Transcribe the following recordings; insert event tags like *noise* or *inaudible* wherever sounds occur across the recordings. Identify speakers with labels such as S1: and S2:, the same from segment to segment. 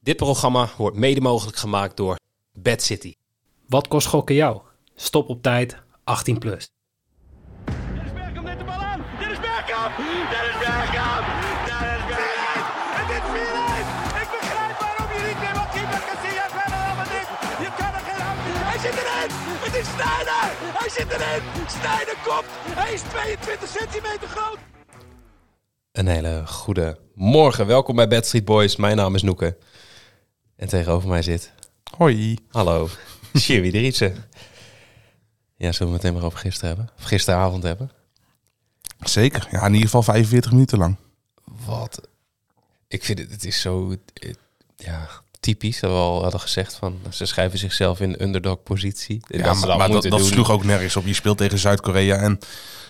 S1: Dit programma wordt mede mogelijk gemaakt door Bad City.
S2: Wat kost gokken jou? Stop op tijd, 18 plus.
S3: Dennis Bergkamp neemt de bal aan. Dennis Bergkamp. Dennis Bergkamp. Dennis Bergkamp. Het is 4-1. Ik begrijp waarom je niet meer wat keeper kan zien. Jij verder helemaal niet. Je kan er geen hand in. Hij zit erin. Het is Sneijder. Hij zit erin. Sneijder komt. Hij is 22 centimeter groot.
S1: Een hele goede morgen. Welkom bij Bad Street Boys. Mijn naam is Noeke. En tegenover mij zit,
S4: Hoi.
S1: *laughs* hallo, Jimmy de Rietsen. Ja, zullen we het meteen maar over gisteren hebben? Of gisteravond hebben?
S4: Zeker. Ja, in ieder geval 45 minuten lang.
S1: Wat? Ik vind het, het is zo eh, ja, typisch. Dat we al hadden gezegd van, ze schrijven zichzelf in de underdog positie.
S4: Ja, maar, maar dat, dat sloeg ook nergens op. Je speelt tegen Zuid-Korea en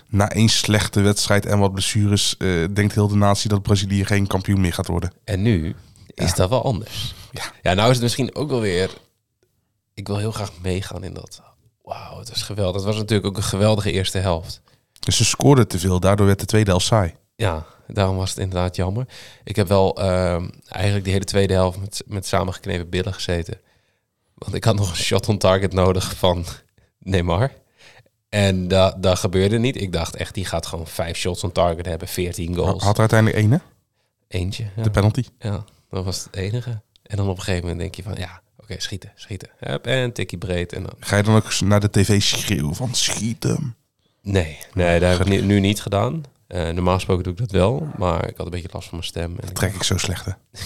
S4: na één slechte wedstrijd en wat blessures... eh, denkt heel de natie dat Brazilië geen kampioen meer gaat worden.
S1: En nu is dat wel anders. Ja.
S4: Ja.
S1: nou is het misschien ook wel weer... Ik wil heel graag meegaan in dat. Wauw, het is geweldig. Het was natuurlijk ook een geweldige eerste helft.
S4: Dus ze scoorden te veel, daardoor werd de tweede helft saai.
S1: Ja, daarom was het inderdaad jammer. Ik heb wel ehm, eigenlijk die hele tweede helft met, met samengeknepen billen gezeten. Want ik had nog een shot on target nodig van Neymar. En da, dat gebeurde niet. Ik dacht echt, die gaat gewoon vijf shots on target hebben, 14 goals.
S4: Had er uiteindelijk één, hè?
S1: Eentje. ja.
S4: De penalty.
S1: Ja, dat was het enige. En dan op een gegeven moment denk je van, ja, oké, schieten, schieten. Hup, en tikkie breed. En dan...
S4: Ga je dan ook naar de tv schreeuwen van schiet hem?
S1: Nee, nee, dat heb ik nu, nu niet gedaan. Eh, normaal gesproken doe ik dat wel, maar ik had een beetje last van mijn stem. En ik-
S4: Trek ik zo slecht, hè? *laughs*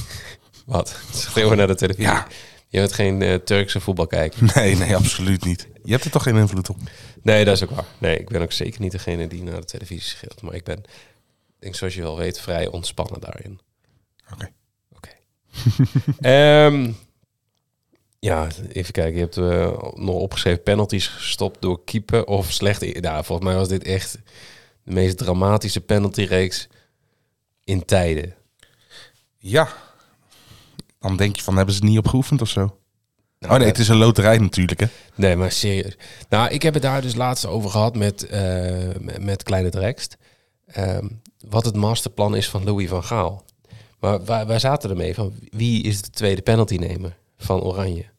S1: wat? *laughs* Schreeuwen naar de televisie.
S4: Ja.
S1: Je bent geen eh, Turkse voetbalkijker.
S4: Nee, nee, absoluut niet. Je hebt er toch geen invloed op?
S1: Nee, dat is ook waar. Nee, ik ben ook zeker niet degene die naar de televisie scheelt. Maar ik ben, ik denk zoals je wel weet, vrij ontspannen daarin.
S4: Oké.
S1: Oké. *laughs* Ehm, ja, even kijken. Je hebt eh, nog opgeschreven penalties gestopt door keeper of slecht. Nou, volgens mij was dit echt de meest dramatische penaltyreeks in tijden.
S4: Ja. Dan denk je van, hebben ze het niet op geoefend of zo?
S1: Nou,
S4: Oh nee, het is een loterij natuurlijk, hè?
S1: Nee, maar serieus. Nou, ik heb het daar dus laatst over gehad met, eh, met- met Kleine Drekst. Ehm, wat het masterplan is van Louis van Gaal. Maar wij, wij zaten ermee van wie is de tweede penaltynemer van Oranje?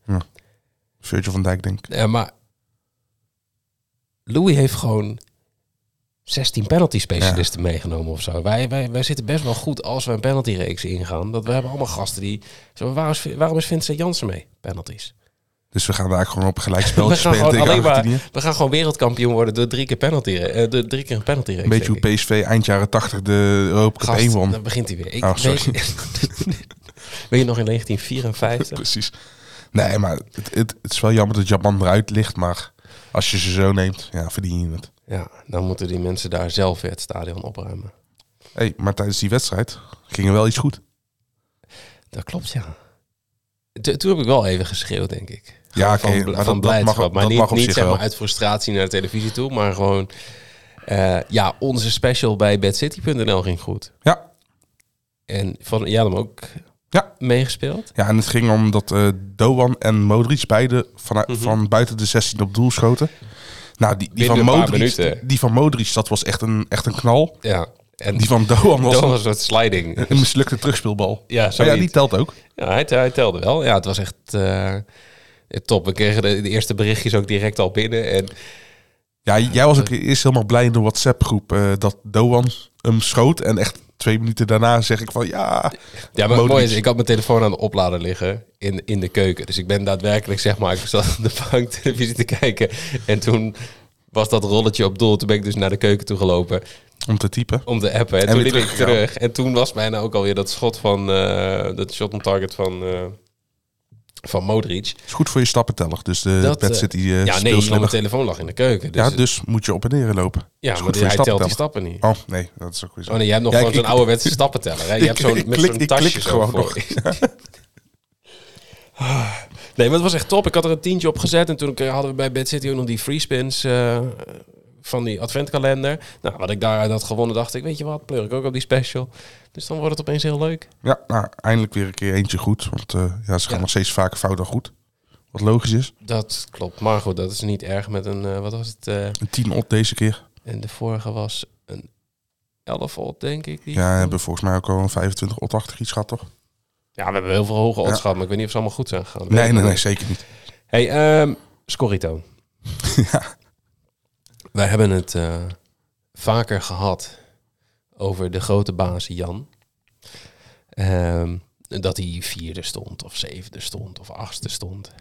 S4: Virgil van Dijk, denk ik.
S1: Ja, maar Louis heeft gewoon 16 penalty specialisten meegenomen of zo. Wij, wij, wij zitten best wel goed als we een penaltyreeks ingaan. Dat we hebben allemaal gasten die... Zo, waarom, is, waarom is Vincent Jansen mee? Penalties.
S4: Dus we gaan daar gewoon
S1: *laughs*
S4: op gelijk
S1: We
S4: spelletjes
S1: gaan,
S4: spelen
S1: gewoon
S4: tegen
S1: alleen maar,
S4: Argentinië.
S1: we gaan gewoon wereldkampioen worden door drie keer penalty. eh, door drie keer een penalty.
S4: Een beetje hoe PSV eind jaren 80 de Europa Cup 1 won.
S1: Dan begint hij weer. Ik
S4: Oh, sorry.
S1: Weet, *laughs* weet je nog in 1954?
S4: Precies. Nee, maar het, het, het is wel jammer dat Japan eruit ligt, maar als je ze zo neemt, ja, verdien je het.
S1: Ja, dan moeten die mensen daar zelf weer het stadion opruimen.
S4: hey, maar tijdens die wedstrijd ging er wel iets goed.
S1: Dat klopt, ja. T- Toen heb ik wel even geschreeuwd, denk ik.
S4: Ja,
S1: van,
S4: oké,
S1: bl-
S4: maar
S1: van
S4: dat- dat
S1: blijdschap.
S4: mag-
S1: maar
S4: dat
S1: niet,
S4: mag op
S1: niet
S4: zich
S1: zeg maar
S4: wel.
S1: uit frustratie naar de televisie toe, maar gewoon... eh, ja, onze special bij bedcity.nl ging goed.
S4: Ja,
S1: En van, jij had hem ook
S4: Ja.
S1: meegespeeld?
S4: ja en het ging om dat eh Doan en Modric beide vanuit,
S1: Mhm.
S4: van buiten de 16 op doel schoten. Nou, die, die,
S1: Binnen
S4: van,
S1: een paar
S4: Modric,
S1: minuten.
S4: die, die van Modric, dat was echt een, echt een knal.
S1: Ja. En
S4: Die van Doan was
S1: Dat
S4: een,
S1: was een soort
S4: *laughs*
S1: sliding.
S4: een mislukte terugspeelbal.
S1: Ja,
S4: Maar ja,
S1: zoiets.
S4: die telt ook.
S1: Ja, hij, hij telde wel. Ja, het was echt eh, top. We kregen de, de eerste berichtjes ook direct al binnen. En
S4: Ja, jij was ook eerst helemaal blij in de WhatsApp-groep eh, dat Doan hem schoot. En echt twee minuten daarna zeg ik van ja.
S1: ja, maar het
S4: Modric.
S1: mooie is, ik had mijn telefoon aan de oplader liggen in, in de keuken. Dus ik ben daadwerkelijk, zeg maar, ik zat op de bank televisie te kijken. En toen was dat rolletje op doel. Toen ben ik dus naar de keuken toe gelopen
S4: Om te typen.
S1: om te appen. En,
S4: En
S1: toen
S4: weer
S1: liep ik
S4: teruggegaan.
S1: terug. En toen was bijna ook alweer dat schot van, eh, dat shot on target van, eh, van Modric.
S4: Is goed voor je stappenteller. Dus de
S1: Dat,
S4: Bad
S1: eh,
S4: City eh,
S1: ja, nee,
S4: speelslimmer.
S1: want mijn telefoon lag in de keuken. Dus,
S4: ja, dus moet je op en neer lopen.
S1: ja
S4: Is
S1: maar
S4: goed
S1: die- hij telt die
S4: stappenteller.
S1: stappen niet.
S4: Oh nee, dat is ook weer zo.
S1: Oh nee, jij hebt nog
S4: Ja,
S1: gewoon
S4: ik-
S1: zo'n ouderwetse stappenteller.
S4: *laughs*
S1: Hè? Je
S4: Ik-
S1: hebt zo'n
S4: ik
S1: met
S4: klik-
S1: zo'n
S4: ik
S1: tasje
S4: klik
S1: zo
S4: gewoon
S1: voor. *laughs* nee, maar het was echt top. Ik had er een tientje op gezet. En toen k- hadden we bij Bad City ook nog die free spins eh, van die adventkalender. Nou, wat ik daaruit had gewonnen, dacht ik, weet je wat, pleur ik ook op die special. Dus dan wordt het opeens heel leuk.
S4: Ja, nou, eindelijk weer een keer eentje goed. Want eh, ja, ze gaan
S1: Ja.
S4: nog steeds vaker fout dan goed. Wat logisch is.
S1: Dat klopt. Maar goed, dat is niet erg met een, eh, wat was het? eh,
S4: Een 10 op deze keer.
S1: en de vorige was een 11 volt, denk ik. Die
S4: Ja, hebben we volgens mij ook al een 25 op 80 iets gehad, toch?
S1: Ja, we hebben heel veel hoge odds gehad, maar ik weet niet of ze allemaal goed zijn gegaan.
S4: Nee, nee, nee, zeker niet.
S1: Hey, ehm Scorrito.
S4: *laughs* ja.
S1: Wij hebben het eh, vaker gehad over de grote baas Jan. Ehm, dat hij vierde stond, of zevende stond, of achtste stond.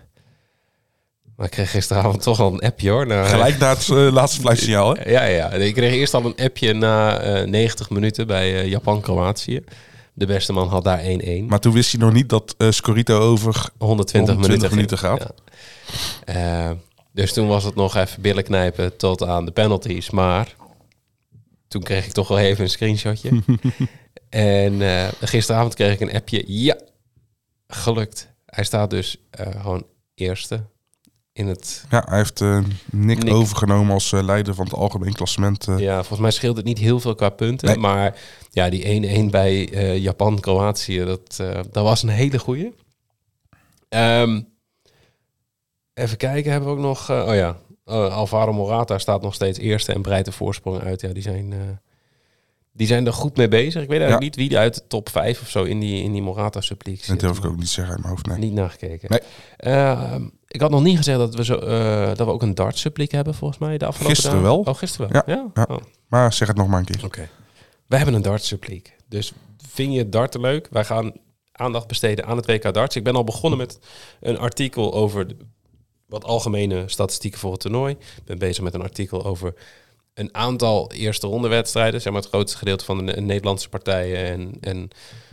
S1: Maar ik kreeg gisteravond toch al een appje hoor. Nou,
S4: Gelijk na het eh, laatste fluitsignaal, hè?
S1: Ja, ja. Ik kreeg eerst al een appje na eh, 90 minuten bij eh, Japan-Kroatië. De beste man had daar 1-1.
S4: Maar toen wist hij nog niet dat eh Scorito over...
S1: 120,
S4: 120 minuten
S1: minuten
S4: gaat.
S1: Ja. Eh, dus toen was het nog even billen knijpen tot aan de penalties. Maar toen kreeg ik toch wel even een screenshotje. en eh, gisteravond kreeg ik een appje. Ja, gelukt. Hij staat dus eh, gewoon eerste in het...
S4: Ja, hij heeft eh, Nick,
S1: Nick.
S4: overgenomen als eh, leider van het algemeen klassement. eh.
S1: Ja, volgens mij scheelt het niet heel veel qua punten.
S4: Nee.
S1: Maar ja, die 1-1 bij eh, Japan-Kroatië, dat, eh, dat was een hele goeie. Ehm, even kijken, hebben we ook nog... eh, oh ja, eh, Alvaro Morata staat nog steeds eerste en breidt de voorsprong uit. Ja, die zijn, eh, die zijn er goed mee bezig. Ik weet eigenlijk niet wie uit de top 5 of zo in die, in die Morata-subliek
S4: Dat
S1: zit.
S4: durf ik ook niet te zeggen uit mijn hoofd, nee.
S1: Niet nagekeken.
S4: Nee.
S1: Ehm, ik had nog niet gezegd dat we, zo, eh, dat we ook een dartsubliek hebben, volgens mij, de afgelopen
S4: Gisteren
S1: dagen.
S4: wel.
S1: Oh, gisteren wel. Ja.
S4: ja.
S1: Oh.
S4: Maar zeg het nog maar een keer.
S1: Oké. We hebben een dartsupliek. Dus vind je darten leuk? Wij gaan aandacht besteden aan het WK darts. Ik ben al begonnen met een artikel over de- wat algemene statistieken voor het toernooi. Ik ben bezig met een artikel over een aantal eerste ronde wedstrijden. Zeg maar het grootste gedeelte van de Ne- Nederlandse partijen en, en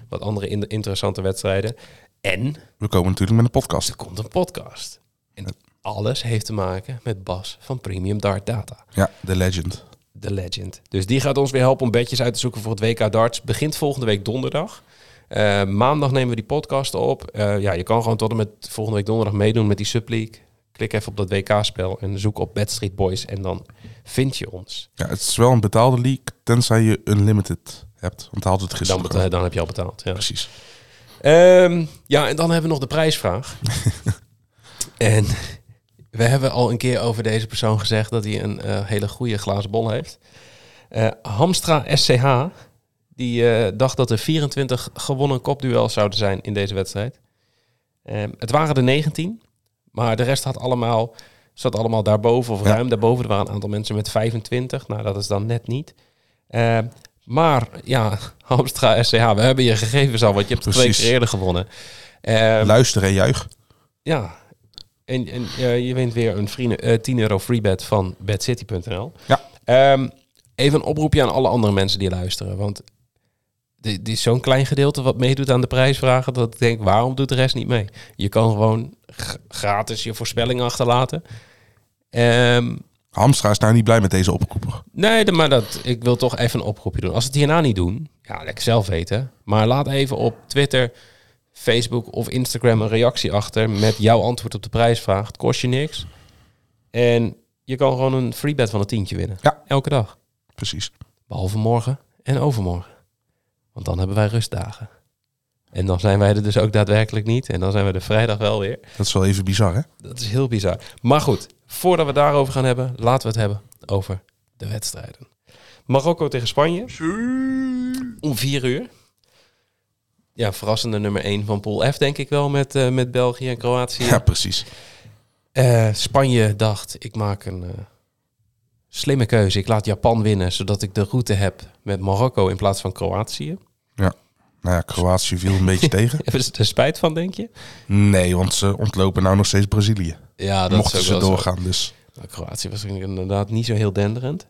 S1: wat andere in- interessante wedstrijden. En
S4: We komen natuurlijk met een podcast.
S1: er komt een podcast. En alles heeft te maken met Bas van Premium Dart Data.
S4: Ja, The Legend.
S1: The Legend. Dus die gaat ons weer helpen om bedjes uit te zoeken voor het WK darts. Begint volgende week donderdag. Eh, maandag nemen we die podcast op. Eh, ja, je kan gewoon tot en met volgende week donderdag meedoen met die subleague. Klik even op dat WK-spel en zoek op Bad Street Boys en dan vind je ons.
S4: Ja, het is wel een betaalde league, tenzij je Unlimited hebt. Want hij had het
S1: Dan,
S4: gisteren.
S1: beta-
S4: gewoon.
S1: dan heb je al betaald. Ja.
S4: Precies.
S1: Ehm, ja, en dan hebben we nog de prijsvraag. en we hebben al een keer over deze persoon gezegd dat hij een eh, hele goede glazen bol heeft. Eh, Hamstra SCH, die eh, dacht dat er 24 gewonnen kopduels zouden zijn in deze wedstrijd. Ehm, het waren er 19, maar de rest had allemaal, zat allemaal daarboven of
S4: Ja.
S1: ruim daarboven. Er waren een aantal mensen met 25, nou dat is dan net niet. Ehm, maar ja, *laughs* Hamstra SCH, we hebben je gegevens al, want je hebt er twee
S4: Precies.
S1: keer eerder gewonnen. Ehm,
S4: Luister en juich.
S1: ja. En, en eh, je wint weer een vrienden, eh, 10 euro freebet van bedcity.nl.
S4: Ja.
S1: Ehm, even een oproepje aan alle andere mensen die luisteren. Want dit dit is zo'n klein gedeelte wat meedoet aan de prijsvragen... dat ik denk, waarom doet de rest niet mee? Je kan gewoon g- gratis je voorspelling achterlaten. Ehm,
S4: Hamstra is nou niet blij met deze oproeper.
S1: nee, de- maar dat, ik wil toch even een oproepje doen. Als we het hierna niet doen, ja, lekker zelf weten. Maar laat even op Twitter, Facebook of Instagram een reactie achter... met jouw antwoord op de prijsvraag. Het kost je niks. En je kan gewoon een freebet van een tientje winnen.
S4: Ja.
S1: Elke dag.
S4: Precies.
S1: Behalve morgen en overmorgen. Want dan hebben wij rustdagen. En dan zijn wij er dus ook daadwerkelijk niet. En dan zijn we de vrijdag wel weer.
S4: Dat is wel even bizar, hè?
S1: Dat is heel bizar. Maar goed, voordat we het daarover gaan hebben, laten we het hebben over de wedstrijden. Marokko tegen Spanje. Om vier uur. Ja, verrassende nummer 1 van Pool F, denk ik wel, met, eh, met België en Kroatië.
S4: Ja, precies.
S1: Eh, Spanje dacht, ik maak een eh, slimme keuze. Ik laat Japan winnen, zodat ik de route heb met Marokko in plaats van Kroatië. *laughs*
S4: Nou ja, Kroatië viel een beetje tegen.
S1: Hebben ze er spijt van, denk je?
S4: Nee, want ze ontlopen nou nog steeds Brazilië.
S1: Ja,
S4: Mochten ze doorgaan, dus.
S1: Kroatië was inderdaad niet zo heel denderend.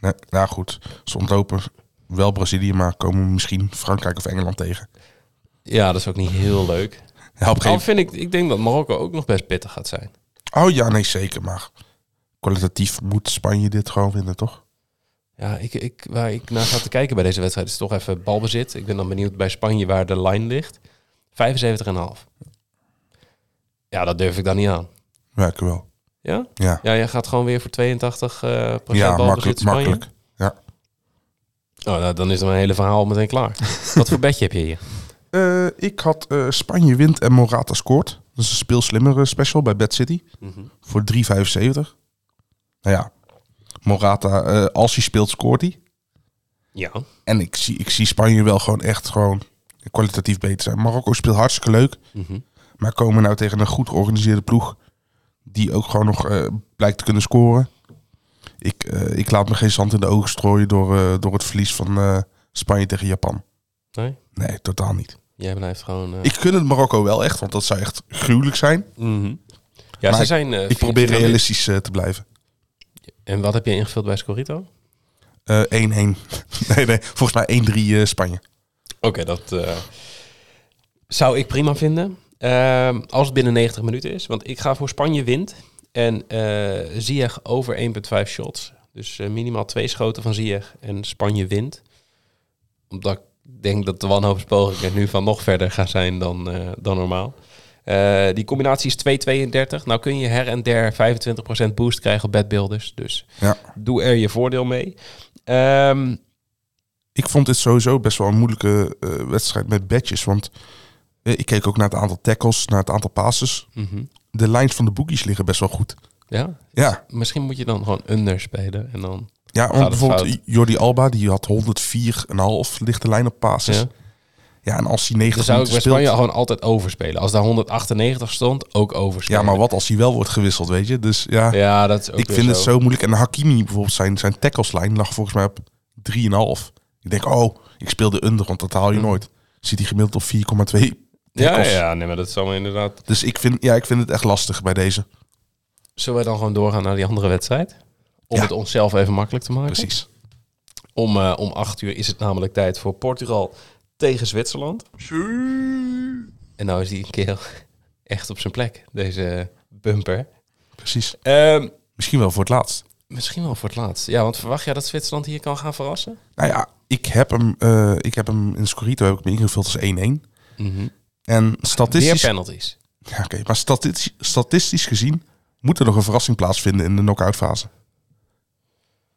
S4: Nee, nou goed, ze ontlopen wel Brazilië, maar komen misschien Frankrijk of Engeland tegen.
S1: Ja, dat is ook niet heel leuk.
S4: Ja, op een
S1: Al
S4: gegeven
S1: vind ik, ik denk dat Marokko ook nog best pittig gaat zijn.
S4: Oh ja, nee, zeker, maar kwalitatief moet Spanje dit gewoon winnen, toch?
S1: Ja, ik, ik, waar ik naar ga te kijken bij deze wedstrijd is toch even balbezit. Ik ben dan benieuwd bij Spanje waar de line ligt. 75,5. Ja, dat durf ik dan niet aan.
S4: Ja, ik wel.
S1: Ja?
S4: Ja,
S1: Ja, jij gaat gewoon weer voor 82 eh procent
S4: ja
S1: balbezit
S4: makkelijk,
S1: Spanje.
S4: makkelijk. Ja.
S1: Oh, nou, dan is mijn hele verhaal meteen *laughs* klaar. Wat voor bedje heb je hier?
S4: Eh, ik had eh, Spanje wint en Morata scoort. Dat is een speelslimmere special bij Bad City. Voor 3,75. Nou ja, Morata, eh, als hij speelt, scoort hij.
S1: Ja.
S4: En ik zie, ik zie Spanje wel gewoon echt gewoon kwalitatief beter zijn. Marokko speelt hartstikke leuk.
S1: Mhm.
S4: Maar komen nou tegen een goed georganiseerde ploeg. Die ook gewoon nog eh, blijkt te kunnen scoren. Ik, eh, ik laat me geen zand in de ogen strooien door, eh, door het verlies van eh, Spanje tegen Japan.
S1: Nee?
S4: Nee, totaal niet.
S1: Jij blijft gewoon... eh,
S4: Ik gun het Marokko wel echt, want dat zou echt gruwelijk zijn.
S1: mhm. Ja,
S4: Maar
S1: ze zijn... eh,
S4: Ik probeer
S1: 14-0.
S4: realistisch eh, te blijven.
S1: En wat heb je ingevuld bij Scorito? Oké,
S4: Eh, 1-1. *laughs* nee, nee, volgens mij 1-3 eh, Spanje.
S1: dat eh, zou ik prima vinden. Ehm, als het binnen 90 minuten is. Want ik ga voor Spanje wint. En eh Ziyech over 1,5 shots. Dus eh, minimaal twee schoten van Ziyech. En Spanje wint. Omdat ik denk dat de wanhoopspogingen nu van nog verder gaan zijn dan, eh, dan normaal. Eh, die combinatie is 2,32. Nou kun je her en der 25% boost krijgen op bedbuilders. Dus
S4: Ja.
S1: doe er je voordeel mee. Ehm,
S4: Ik vond dit sowieso best wel een moeilijke eh, wedstrijd met badges. Want eh, ik keek ook naar het aantal tackles, naar het aantal passes.
S1: mhm.
S4: De lijns van de boekies liggen best wel goed.
S1: Ja,
S4: Ja,
S1: misschien moet je dan gewoon under spelen en dan.
S4: ja
S1: Gaat
S4: want
S1: het
S4: bijvoorbeeld
S1: fout?
S4: Jordi Alba, die had 104,5 lichte lijn op passes. Ja,
S1: Ja.
S4: en als hij
S1: Dan
S4: 90
S1: zou ik bij
S4: minuten
S1: Spanje
S4: speelt...
S1: gewoon altijd overspelen. Als daar 198 stond, ook overspelen.
S4: Ja, maar wat als hij wel wordt gewisseld, weet je? Dus ja,
S1: Ja, dat is ook
S4: ik
S1: weer
S4: vind het zo moeilijk. En Hakimi bijvoorbeeld, zijn, zijn tackleslijn lag volgens mij op 3,5. Ik denk, oh, ik speel de under, want dat haal je nooit. Zit hij gemiddeld op 4,2
S1: Mhm. Ja,
S4: tackles.
S1: ja, nee, maar dat is allemaal inderdaad.
S4: Dus ik vind, ja, ik vind het echt lastig bij deze.
S1: Zullen wij dan gewoon doorgaan naar die andere wedstrijd? Om
S4: Ja.
S1: het onszelf even makkelijk te maken.
S4: Precies.
S1: Om, eh, om 8 uur is het namelijk tijd voor Portugal tegen Zwitserland. En nou is die een keer *laughs* echt op zijn plek, deze bumper.
S4: Precies.
S1: Ehm,
S4: Misschien wel voor het laatst.
S1: misschien wel voor het laatst. Ja, want verwacht jij dat Zwitserland hier kan gaan verrassen?
S4: Nou ja, ik heb hem, eh, ik heb hem in Scorito heb ik hem ingevuld als 1-1.
S1: Mhm.
S4: En
S1: Weer
S4: statistisch,
S1: penalties.
S4: ja, oké, maar statistisch, statistisch gezien moet er nog een verrassing plaatsvinden in de knock-out fase.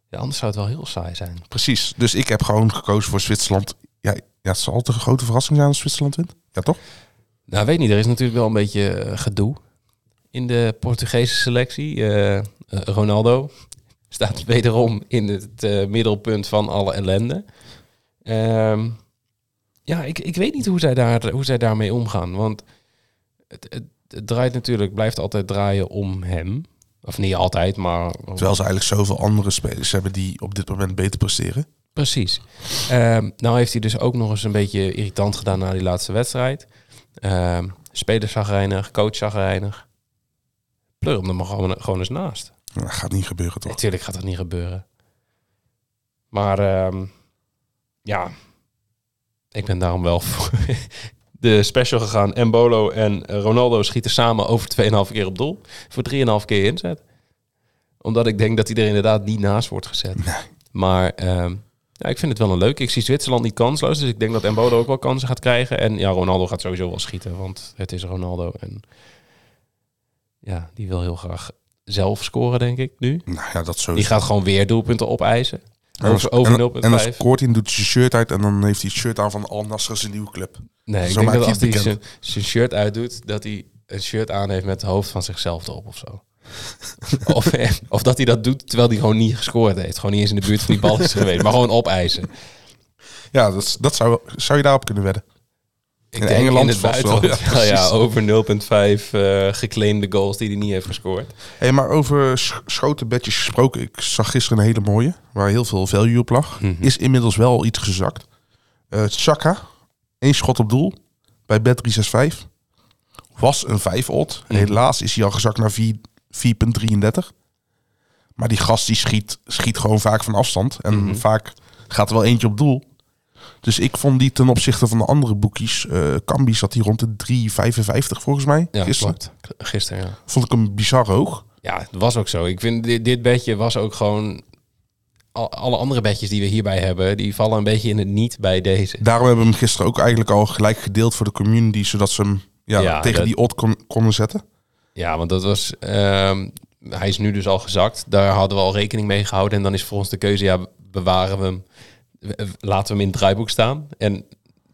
S1: Ja, anders zou het wel heel saai zijn.
S4: Precies. Dus ik heb gewoon gekozen voor Zwitserland. Ja, ja het zal altijd een grote verrassing zijn als Zwitserland wint. Ja, toch?
S1: Nou, weet niet. Er is natuurlijk wel een beetje eh, gedoe in de Portugese selectie. Eh, eh, Ronaldo *laughs* staat wederom in het eh, middelpunt van alle ellende. Ehm, ja, ik, ik weet niet hoe zij, daar, hoe zij daarmee omgaan. Want het, het, het draait natuurlijk, blijft altijd draaien om hem. Of niet altijd, maar...
S4: Terwijl ze eigenlijk zoveel andere spelers hebben die op dit moment beter presteren.
S1: Precies. Ehm, nou heeft hij dus ook nog eens een beetje irritant gedaan na die laatste wedstrijd. Ehm speler zagrijnig, coach zagrijnig. Pleur hem er maar gewoon, gewoon eens naast.
S4: Nou, Dat gaat niet gebeuren, toch?
S1: Natuurlijk gaat dat niet gebeuren. Maar ehm, ja, ik ben daarom wel voor *laughs* de special gegaan. Embolo en eh, Ronaldo schieten samen over 2,5 keer op doel. Voor 3,5 keer inzet. Omdat ik denk dat hij er inderdaad niet naast wordt gezet. Maar ehm, ja, ik vind het wel een leuk. Ik zie Zwitserland niet kansloos. Dus ik denk dat Embolo ook wel kansen gaat krijgen. En ja, Ronaldo gaat sowieso wel schieten. Want het is Ronaldo. En ja, die wil heel graag zelf scoren, denk ik, nu.
S4: Nou ja, dat zo.
S1: Die gaat gewoon weer doelpunten opeisen.
S4: En als-
S1: Over, over
S4: en, en dan
S1: 0,5.
S4: scoort hij en doet zijn shirt uit en dan heeft hij het shirt aan van Al Nassr zijn nieuwe club.
S1: Nee, ik
S4: Zo
S1: denk
S4: maak
S1: dat
S4: je
S1: als
S4: het
S1: hij zijn
S4: bekend.
S1: zijn shirt uitdoet, dat hij een shirt aan heeft met het hoofd van zichzelf erop of
S4: *laughs*
S1: zo. of, eh, of dat hij dat doet terwijl hij gewoon niet gescoord heeft. Gewoon niet eens in de buurt van die bal is geweest. Maar gewoon opeisen.
S4: Ja, dat, is- dat zou, zou je daarop kunnen wedden.
S1: Ik
S4: In
S1: denk
S4: Engeland
S1: in het
S4: vast wel,
S1: buitenland.
S4: ja,
S1: *laughs* Ja, ja,
S4: precies.
S1: over 0,5 eh geclaimde goals die hij niet heeft gescoord.
S4: Hey, maar over sch- schoten bedjes gesproken. Ik zag gisteren een hele mooie, waar heel veel value op lag.
S1: Mhm.
S4: Is inmiddels wel iets gezakt. Eh Chaka, één schot op doel bij bet 365. Was een 5-odd.
S1: Mhm.
S4: Helaas is hij al gezakt naar 4 4,33. Maar die gast die schiet, schiet gewoon vaak van afstand. En
S1: Mhm.
S4: vaak gaat er wel eentje op doel. Dus ik vond die ten opzichte van de andere boekies. eh Kambi zat hier rond de 3,55 volgens mij.
S1: Ja,
S4: gisteren.
S1: klopt. Gisteren, ja.
S4: Vond ik hem bizar hoog.
S1: Ja, het was ook zo. Ik vind dit, dit bedje was ook gewoon... al- alle andere bedjes die we hierbij hebben, die vallen een beetje in het niet bij deze.
S4: Daarom hebben we hem gisteren ook eigenlijk al gelijk gedeeld voor de community, zodat ze hem ja,
S1: Ja,
S4: tegen
S1: dat-
S4: die odd kon- konden zetten.
S1: Ja, want dat was. ehm, hij is nu dus al gezakt. Daar hadden we al rekening mee gehouden. En dan is voor ons de keuze: ja, bewaren we hem. eh, Laten we hem in het draaiboek staan. En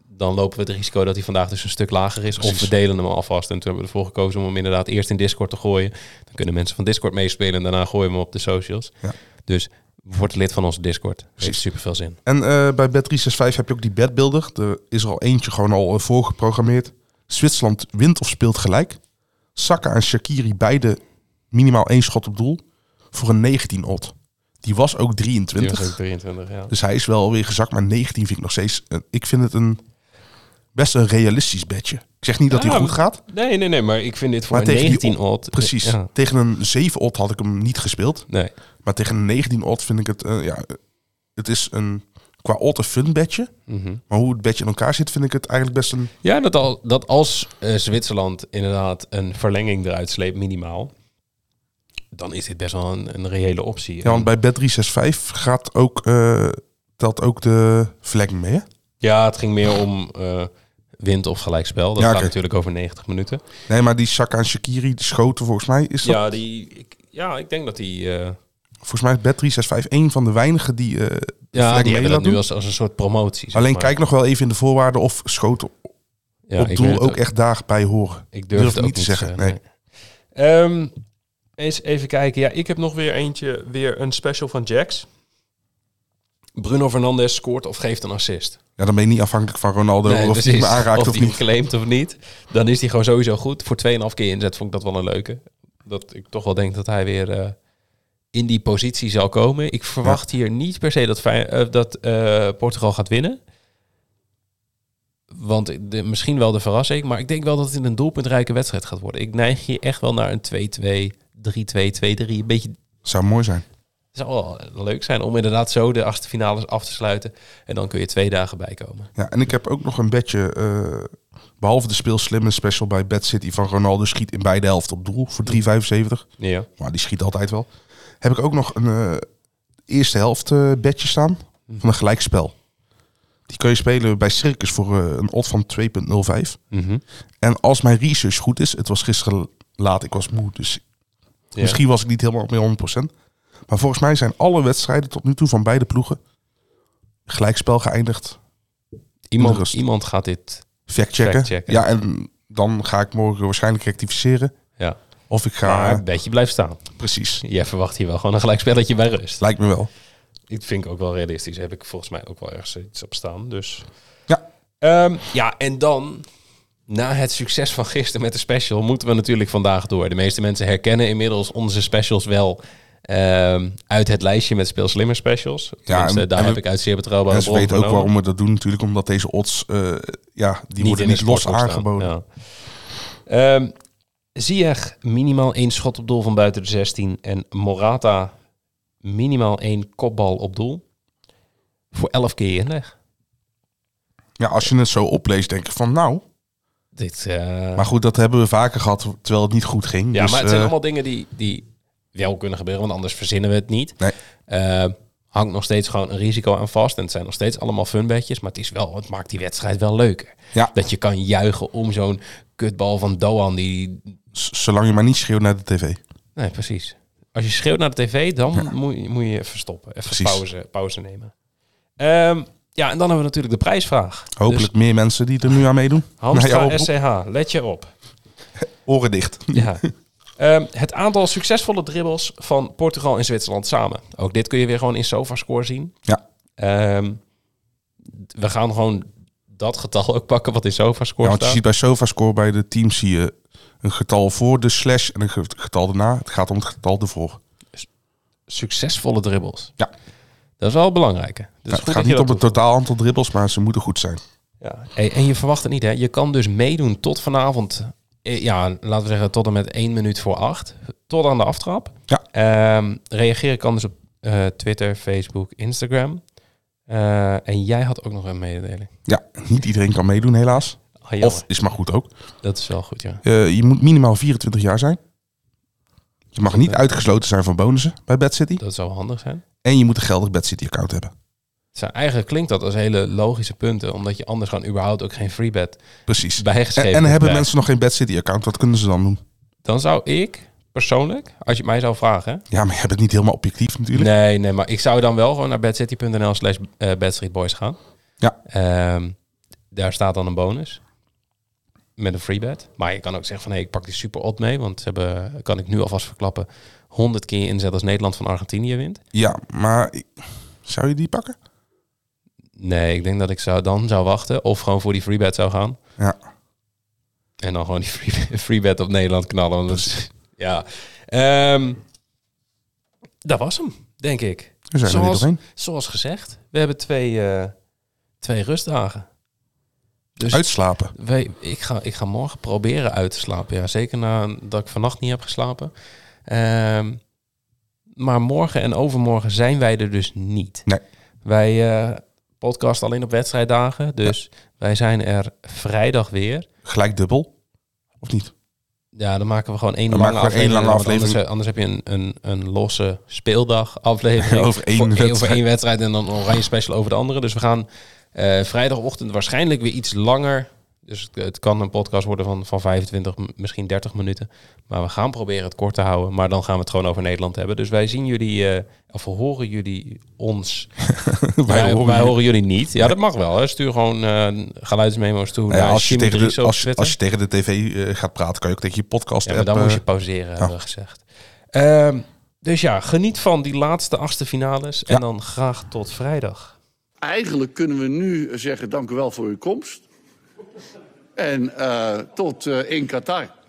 S1: dan lopen we het risico dat hij vandaag dus een stuk lager is. Of we delen hem alvast. En toen hebben we ervoor gekozen om hem inderdaad eerst in Discord te gooien. Dan kunnen mensen van Discord meespelen. En daarna gooien we hem op de socials.
S4: Ja.
S1: Dus Word lid van onze Discord. Heeft super veel zin.
S4: En eh, bij Bet365 heb je ook die bedbuilder. Er is er al eentje gewoon al eh, voorgeprogrammeerd. Zwitserland wint of speelt gelijk. Saka en Shakiri beide minimaal één schot op doel. Voor een 19 odd. Die was ook 23.
S1: Die was ook 23, ja.
S4: Dus hij is wel weer gezakt. Maar 19 vind ik nog steeds... eh, ik vind het een, best een realistisch bedje. Ik zeg niet dat hij
S1: Ja,
S4: goed gaat.
S1: Nou, Nee, nee, nee, maar ik vind dit voor
S4: Maar
S1: een
S4: tegen die
S1: 19 odd.
S4: Precies.
S1: Ja.
S4: Tegen een 7 odd had ik hem niet gespeeld.
S1: Nee.
S4: Maar tegen een 19 odd vind ik het... eh, ja, het is een qua odd een fun bedje. Maar hoe het bedje in elkaar zit, vind ik het eigenlijk best een...
S1: Mhm. Ja, dat, al, dat als eh, Zwitserland inderdaad een verlenging eruit sleept, minimaal, dan is dit best wel een, een reële optie.
S4: Ja, want bij Bet365 gaat ook, eh, telt ook de verlenging mee, hè?
S1: Ja, het ging meer om eh wind of gelijkspel. Dat
S4: Ja,
S1: gaat
S4: oké.
S1: natuurlijk over 90 minuten.
S4: Nee, maar die Saka en Shakiri, die schoten volgens mij... Is dat,
S1: Ja, die, ik, ja, ik denk dat die... eh,
S4: Volgens mij is Bet365 één van de weinigen die... eh de
S1: ja,
S4: verlenging
S1: die
S4: mee
S1: hebben
S4: laat
S1: dat nu
S4: doen.
S1: als, als een soort promotie. zeg
S4: Alleen
S1: maar.
S4: kijk nog wel even in de voorwaarden of schoten
S1: Ja,
S4: op
S1: ik
S4: doel
S1: weet
S4: ook,
S1: het
S4: echt daarbij horen.
S1: Ik durf,
S4: durf
S1: het ook niet te zeggen.
S4: nee.
S1: nee. Ehm, eens even kijken. Ja, ik heb nog weer eentje, weer een special van Jax. Bruno Fernandes scoort of geeft een assist.
S4: Ja, dan ben je niet afhankelijk van Ronaldo
S1: Nee,
S4: of hij
S1: precies.
S4: me aanraakt of,
S1: of die
S4: niet.
S1: claimt of niet. Dan is hij gewoon sowieso goed. Voor 2,5 keer inzet vond ik dat wel een leuke. Dat ik toch wel denk dat hij weer eh, in die positie zal komen. Ik verwacht hier niet per se dat, Fey- eh, dat eh, Portugal gaat winnen. Want de, misschien wel de verrassing. Maar ik denk wel dat het een doelpuntrijke wedstrijd gaat worden. Ik neig hier echt wel naar een 2-2, 3-2, 2-3. Een beetje
S4: Zou mooi zijn.
S1: zou wel eh, leuk zijn om inderdaad zo de achtste finales af te sluiten. En dan kun je twee dagen bijkomen.
S4: Ja, en ik heb ook nog een bedje. eh, behalve de speel slimme special bij Bad City van Ronaldo schiet in beide helften op doel voor 3,75.
S1: Ja.
S4: Maar die schiet altijd wel. Heb ik ook nog een eh, eerste helft eh, bedje staan van een gelijkspel. Die kun je spelen bij Circus voor eh, een odd van 2,05. En als mijn research goed is, het was gisteren laat, ik was moe, dus
S1: Ja.
S4: misschien was ik niet helemaal meer 100%. Maar volgens mij zijn alle wedstrijden tot nu toe van beide ploegen gelijkspel geëindigd. Met
S1: Iemand,
S4: rust.
S1: iemand gaat dit.
S4: Factchecken.
S1: Factchecken.
S4: Ja, en dan ga ik morgen waarschijnlijk rectificeren.
S1: Ja.
S4: Of ik ga...
S1: Maar een beetje blijft staan.
S4: Precies.
S1: Jij verwacht hier wel gewoon een gelijkspelletje bij rust.
S4: Lijkt me wel.
S1: Ik vind ik ook wel realistisch. Heb ik volgens mij ook wel ergens iets op staan. Dus.
S4: Ja.
S1: Ehm, ja, en dan. Na het succes van gisteren met de special moeten we natuurlijk vandaag door. De meeste mensen herkennen inmiddels onze specials wel ehm, uit het lijstje met Speel Slimmer specials. Ja,
S4: en-
S1: daar
S4: en
S1: heb
S4: we-
S1: ik uit zeer betrouwbare
S4: en ze
S1: bron
S4: weten ook
S1: vernomen.
S4: waarom we dat doen natuurlijk. Omdat deze odds, eh, ja, die worden
S1: in de
S4: niet los
S1: sportbox
S4: aangeboden.
S1: staan. Ja. Ehm, Ziyech minimaal één schot op doel van buiten de 16 en Morata minimaal één kopbal op doel. Voor 11 keer inleg.
S4: Ja, als je het zo opleest, denk ik van nou.
S1: Dit, eh,
S4: Maar goed, dat hebben we vaker gehad, terwijl het niet goed ging.
S1: ja,
S4: Dus,
S1: maar het zijn
S4: eh,
S1: allemaal dingen die, die wel kunnen gebeuren, want anders verzinnen we het niet.
S4: Nee.
S1: Eh, hangt nog steeds gewoon een risico aan vast en het zijn nog steeds allemaal funbedjes, maar het, is wel, het maakt die wedstrijd wel leuker.
S4: Ja.
S1: Dat je kan juichen om zo'n kutbal van Doan die
S4: z- Zolang je maar niet schreeuwt naar de tv.
S1: Nee, precies. Als je schreeuwt naar de tv, dan moet, je, moet je even stoppen. Even
S4: Precies.
S1: pauze, pauze nemen. Ehm, ja, en dan hebben we natuurlijk de prijsvraag.
S4: Hopelijk meer mensen die er nu aan meedoen.
S1: Dus Hamstra
S4: Nou ja,
S1: SCH, let je
S4: *laughs*
S1: op.
S4: oren dicht.
S1: Ja. Ehm, het aantal succesvolle dribbles van Portugal en Zwitserland samen. Ook dit kun je weer gewoon in SofaScore zien.
S4: Ja.
S1: Ehm, we gaan gewoon dat getal ook pakken wat in SofaScore
S4: Ja, want je
S1: staat.
S4: ziet bij SofaScore bij de teams zie je een getal voor de slash en een ge- getal daarna. Het gaat om het getal ervoor.
S1: Succesvolle dribbles.
S4: Ja.
S1: Dat is wel belangrijk. Dus
S4: Ja,
S1: goed
S4: Nou, het
S1: dat
S4: gaat
S1: je
S4: niet
S1: dat
S4: om het
S1: toevoegt.
S4: totaal aantal dribbles, maar ze moeten goed zijn.
S1: Ja. Hey, en je verwacht het niet, hè? Je kan dus meedoen tot vanavond. eh, Ja, laten we zeggen tot en met 1 minuut voor 8. Tot aan de aftrap.
S4: Ja.
S1: Ehm, reageren kan dus op eh, Twitter, Facebook, Instagram. Eh, en jij had ook nog een mededeling.
S4: Ja, niet iedereen kan meedoen helaas.
S1: Ah, jammer.
S4: Of is maar goed ook.
S1: Dat is wel goed, ja.
S4: Eh, je moet minimaal 24 jaar zijn. Je mag niet uitgesloten zijn van bonussen bij Bad City.
S1: Dat zou handig zijn.
S4: En je moet een geldig Bad City account hebben.
S1: Het zijn- eigenlijk klinkt dat als hele logische punten, omdat je anders gewoon überhaupt ook geen free bet
S4: Precies. En,
S1: bijgeschreven
S4: en hebben
S1: krijgt.
S4: mensen nog geen Bad City account, wat kunnen ze dan doen?
S1: Dan zou ik persoonlijk, als je het mij zou vragen, hè,
S4: Ja, maar je hebt het niet helemaal objectief natuurlijk.
S1: Nee, nee, maar ik zou dan wel gewoon naar bedcity.nl slash eh, badstreetboys gaan.
S4: Ja.
S1: Ehm, daar staat dan een bonus. met een free bet. Maar je kan ook zeggen van, hé, ik pak die super odd mee. Want ze hebben, kan ik nu alvast verklappen, 100 keer inzet als Nederland van Argentinië wint.
S4: Ja, maar ik- zou je die pakken?
S1: Nee, ik denk dat ik zou, dan zou wachten of gewoon voor die free bet zou gaan.
S4: Ja.
S1: En dan gewoon die free, *laughs* free bet op Nederland knallen. want dat is- ja. Ehm, dat was hem, denk ik.
S4: We zijn er weer
S1: Zoals-
S4: doorheen.
S1: Zoals gezegd, we hebben twee, eh, twee rustdagen. Dus
S4: Uitslapen.
S1: wij, ik, ga, ik ga morgen proberen uit te slapen. Ja, zeker nadat ik vannacht niet heb geslapen. Ehm, maar morgen en overmorgen zijn wij er dus niet.
S4: Nee.
S1: Wij eh, podcasten alleen op wedstrijddagen. Dus wij zijn er vrijdag weer.
S4: Gelijk dubbel. Of niet? *laughs*
S1: Ja, dan maken we gewoon één
S4: Dan
S1: lange
S4: maken we
S1: aflevering.
S4: één lange
S1: want
S4: aflevering.
S1: Anders, anders heb je een, een, een losse speeldag aflevering.
S4: *laughs* Over één
S1: Voor- Over
S4: wedstrijd.
S1: één wedstrijd en dan een oranje special over de andere. Dus we gaan eh, vrijdagochtend waarschijnlijk weer iets langer. Dus het, het kan een podcast worden van, van 25, m- misschien 30 minuten. Maar we gaan proberen het kort te houden. Maar dan gaan we het gewoon over Nederland hebben. Dus wij zien jullie, eh, of we horen jullie ons. Ja,
S4: Wij horen
S1: wij
S4: jullie.
S1: horen jullie niet. Ja, dat mag wel. Hè. Stuur gewoon eh geluidsmemo's toe
S4: Nou ja,
S1: naar
S4: als, je
S1: Jimmy
S4: tegen de,
S1: Driessen op
S4: als,
S1: Twitter.
S4: als je tegen de tv eh, gaat praten, kan je ook tegen je podcast
S1: Ja, maar dan
S4: app,
S1: moest je
S4: eh,
S1: pauzeren, hebben we gezegd. Ehm, dus ja, geniet van die laatste achtste finales. En
S4: Ja.
S1: dan graag tot vrijdag.
S5: Eigenlijk kunnen we nu zeggen: dank u wel voor uw komst. En eh, tot eh, in Qatar.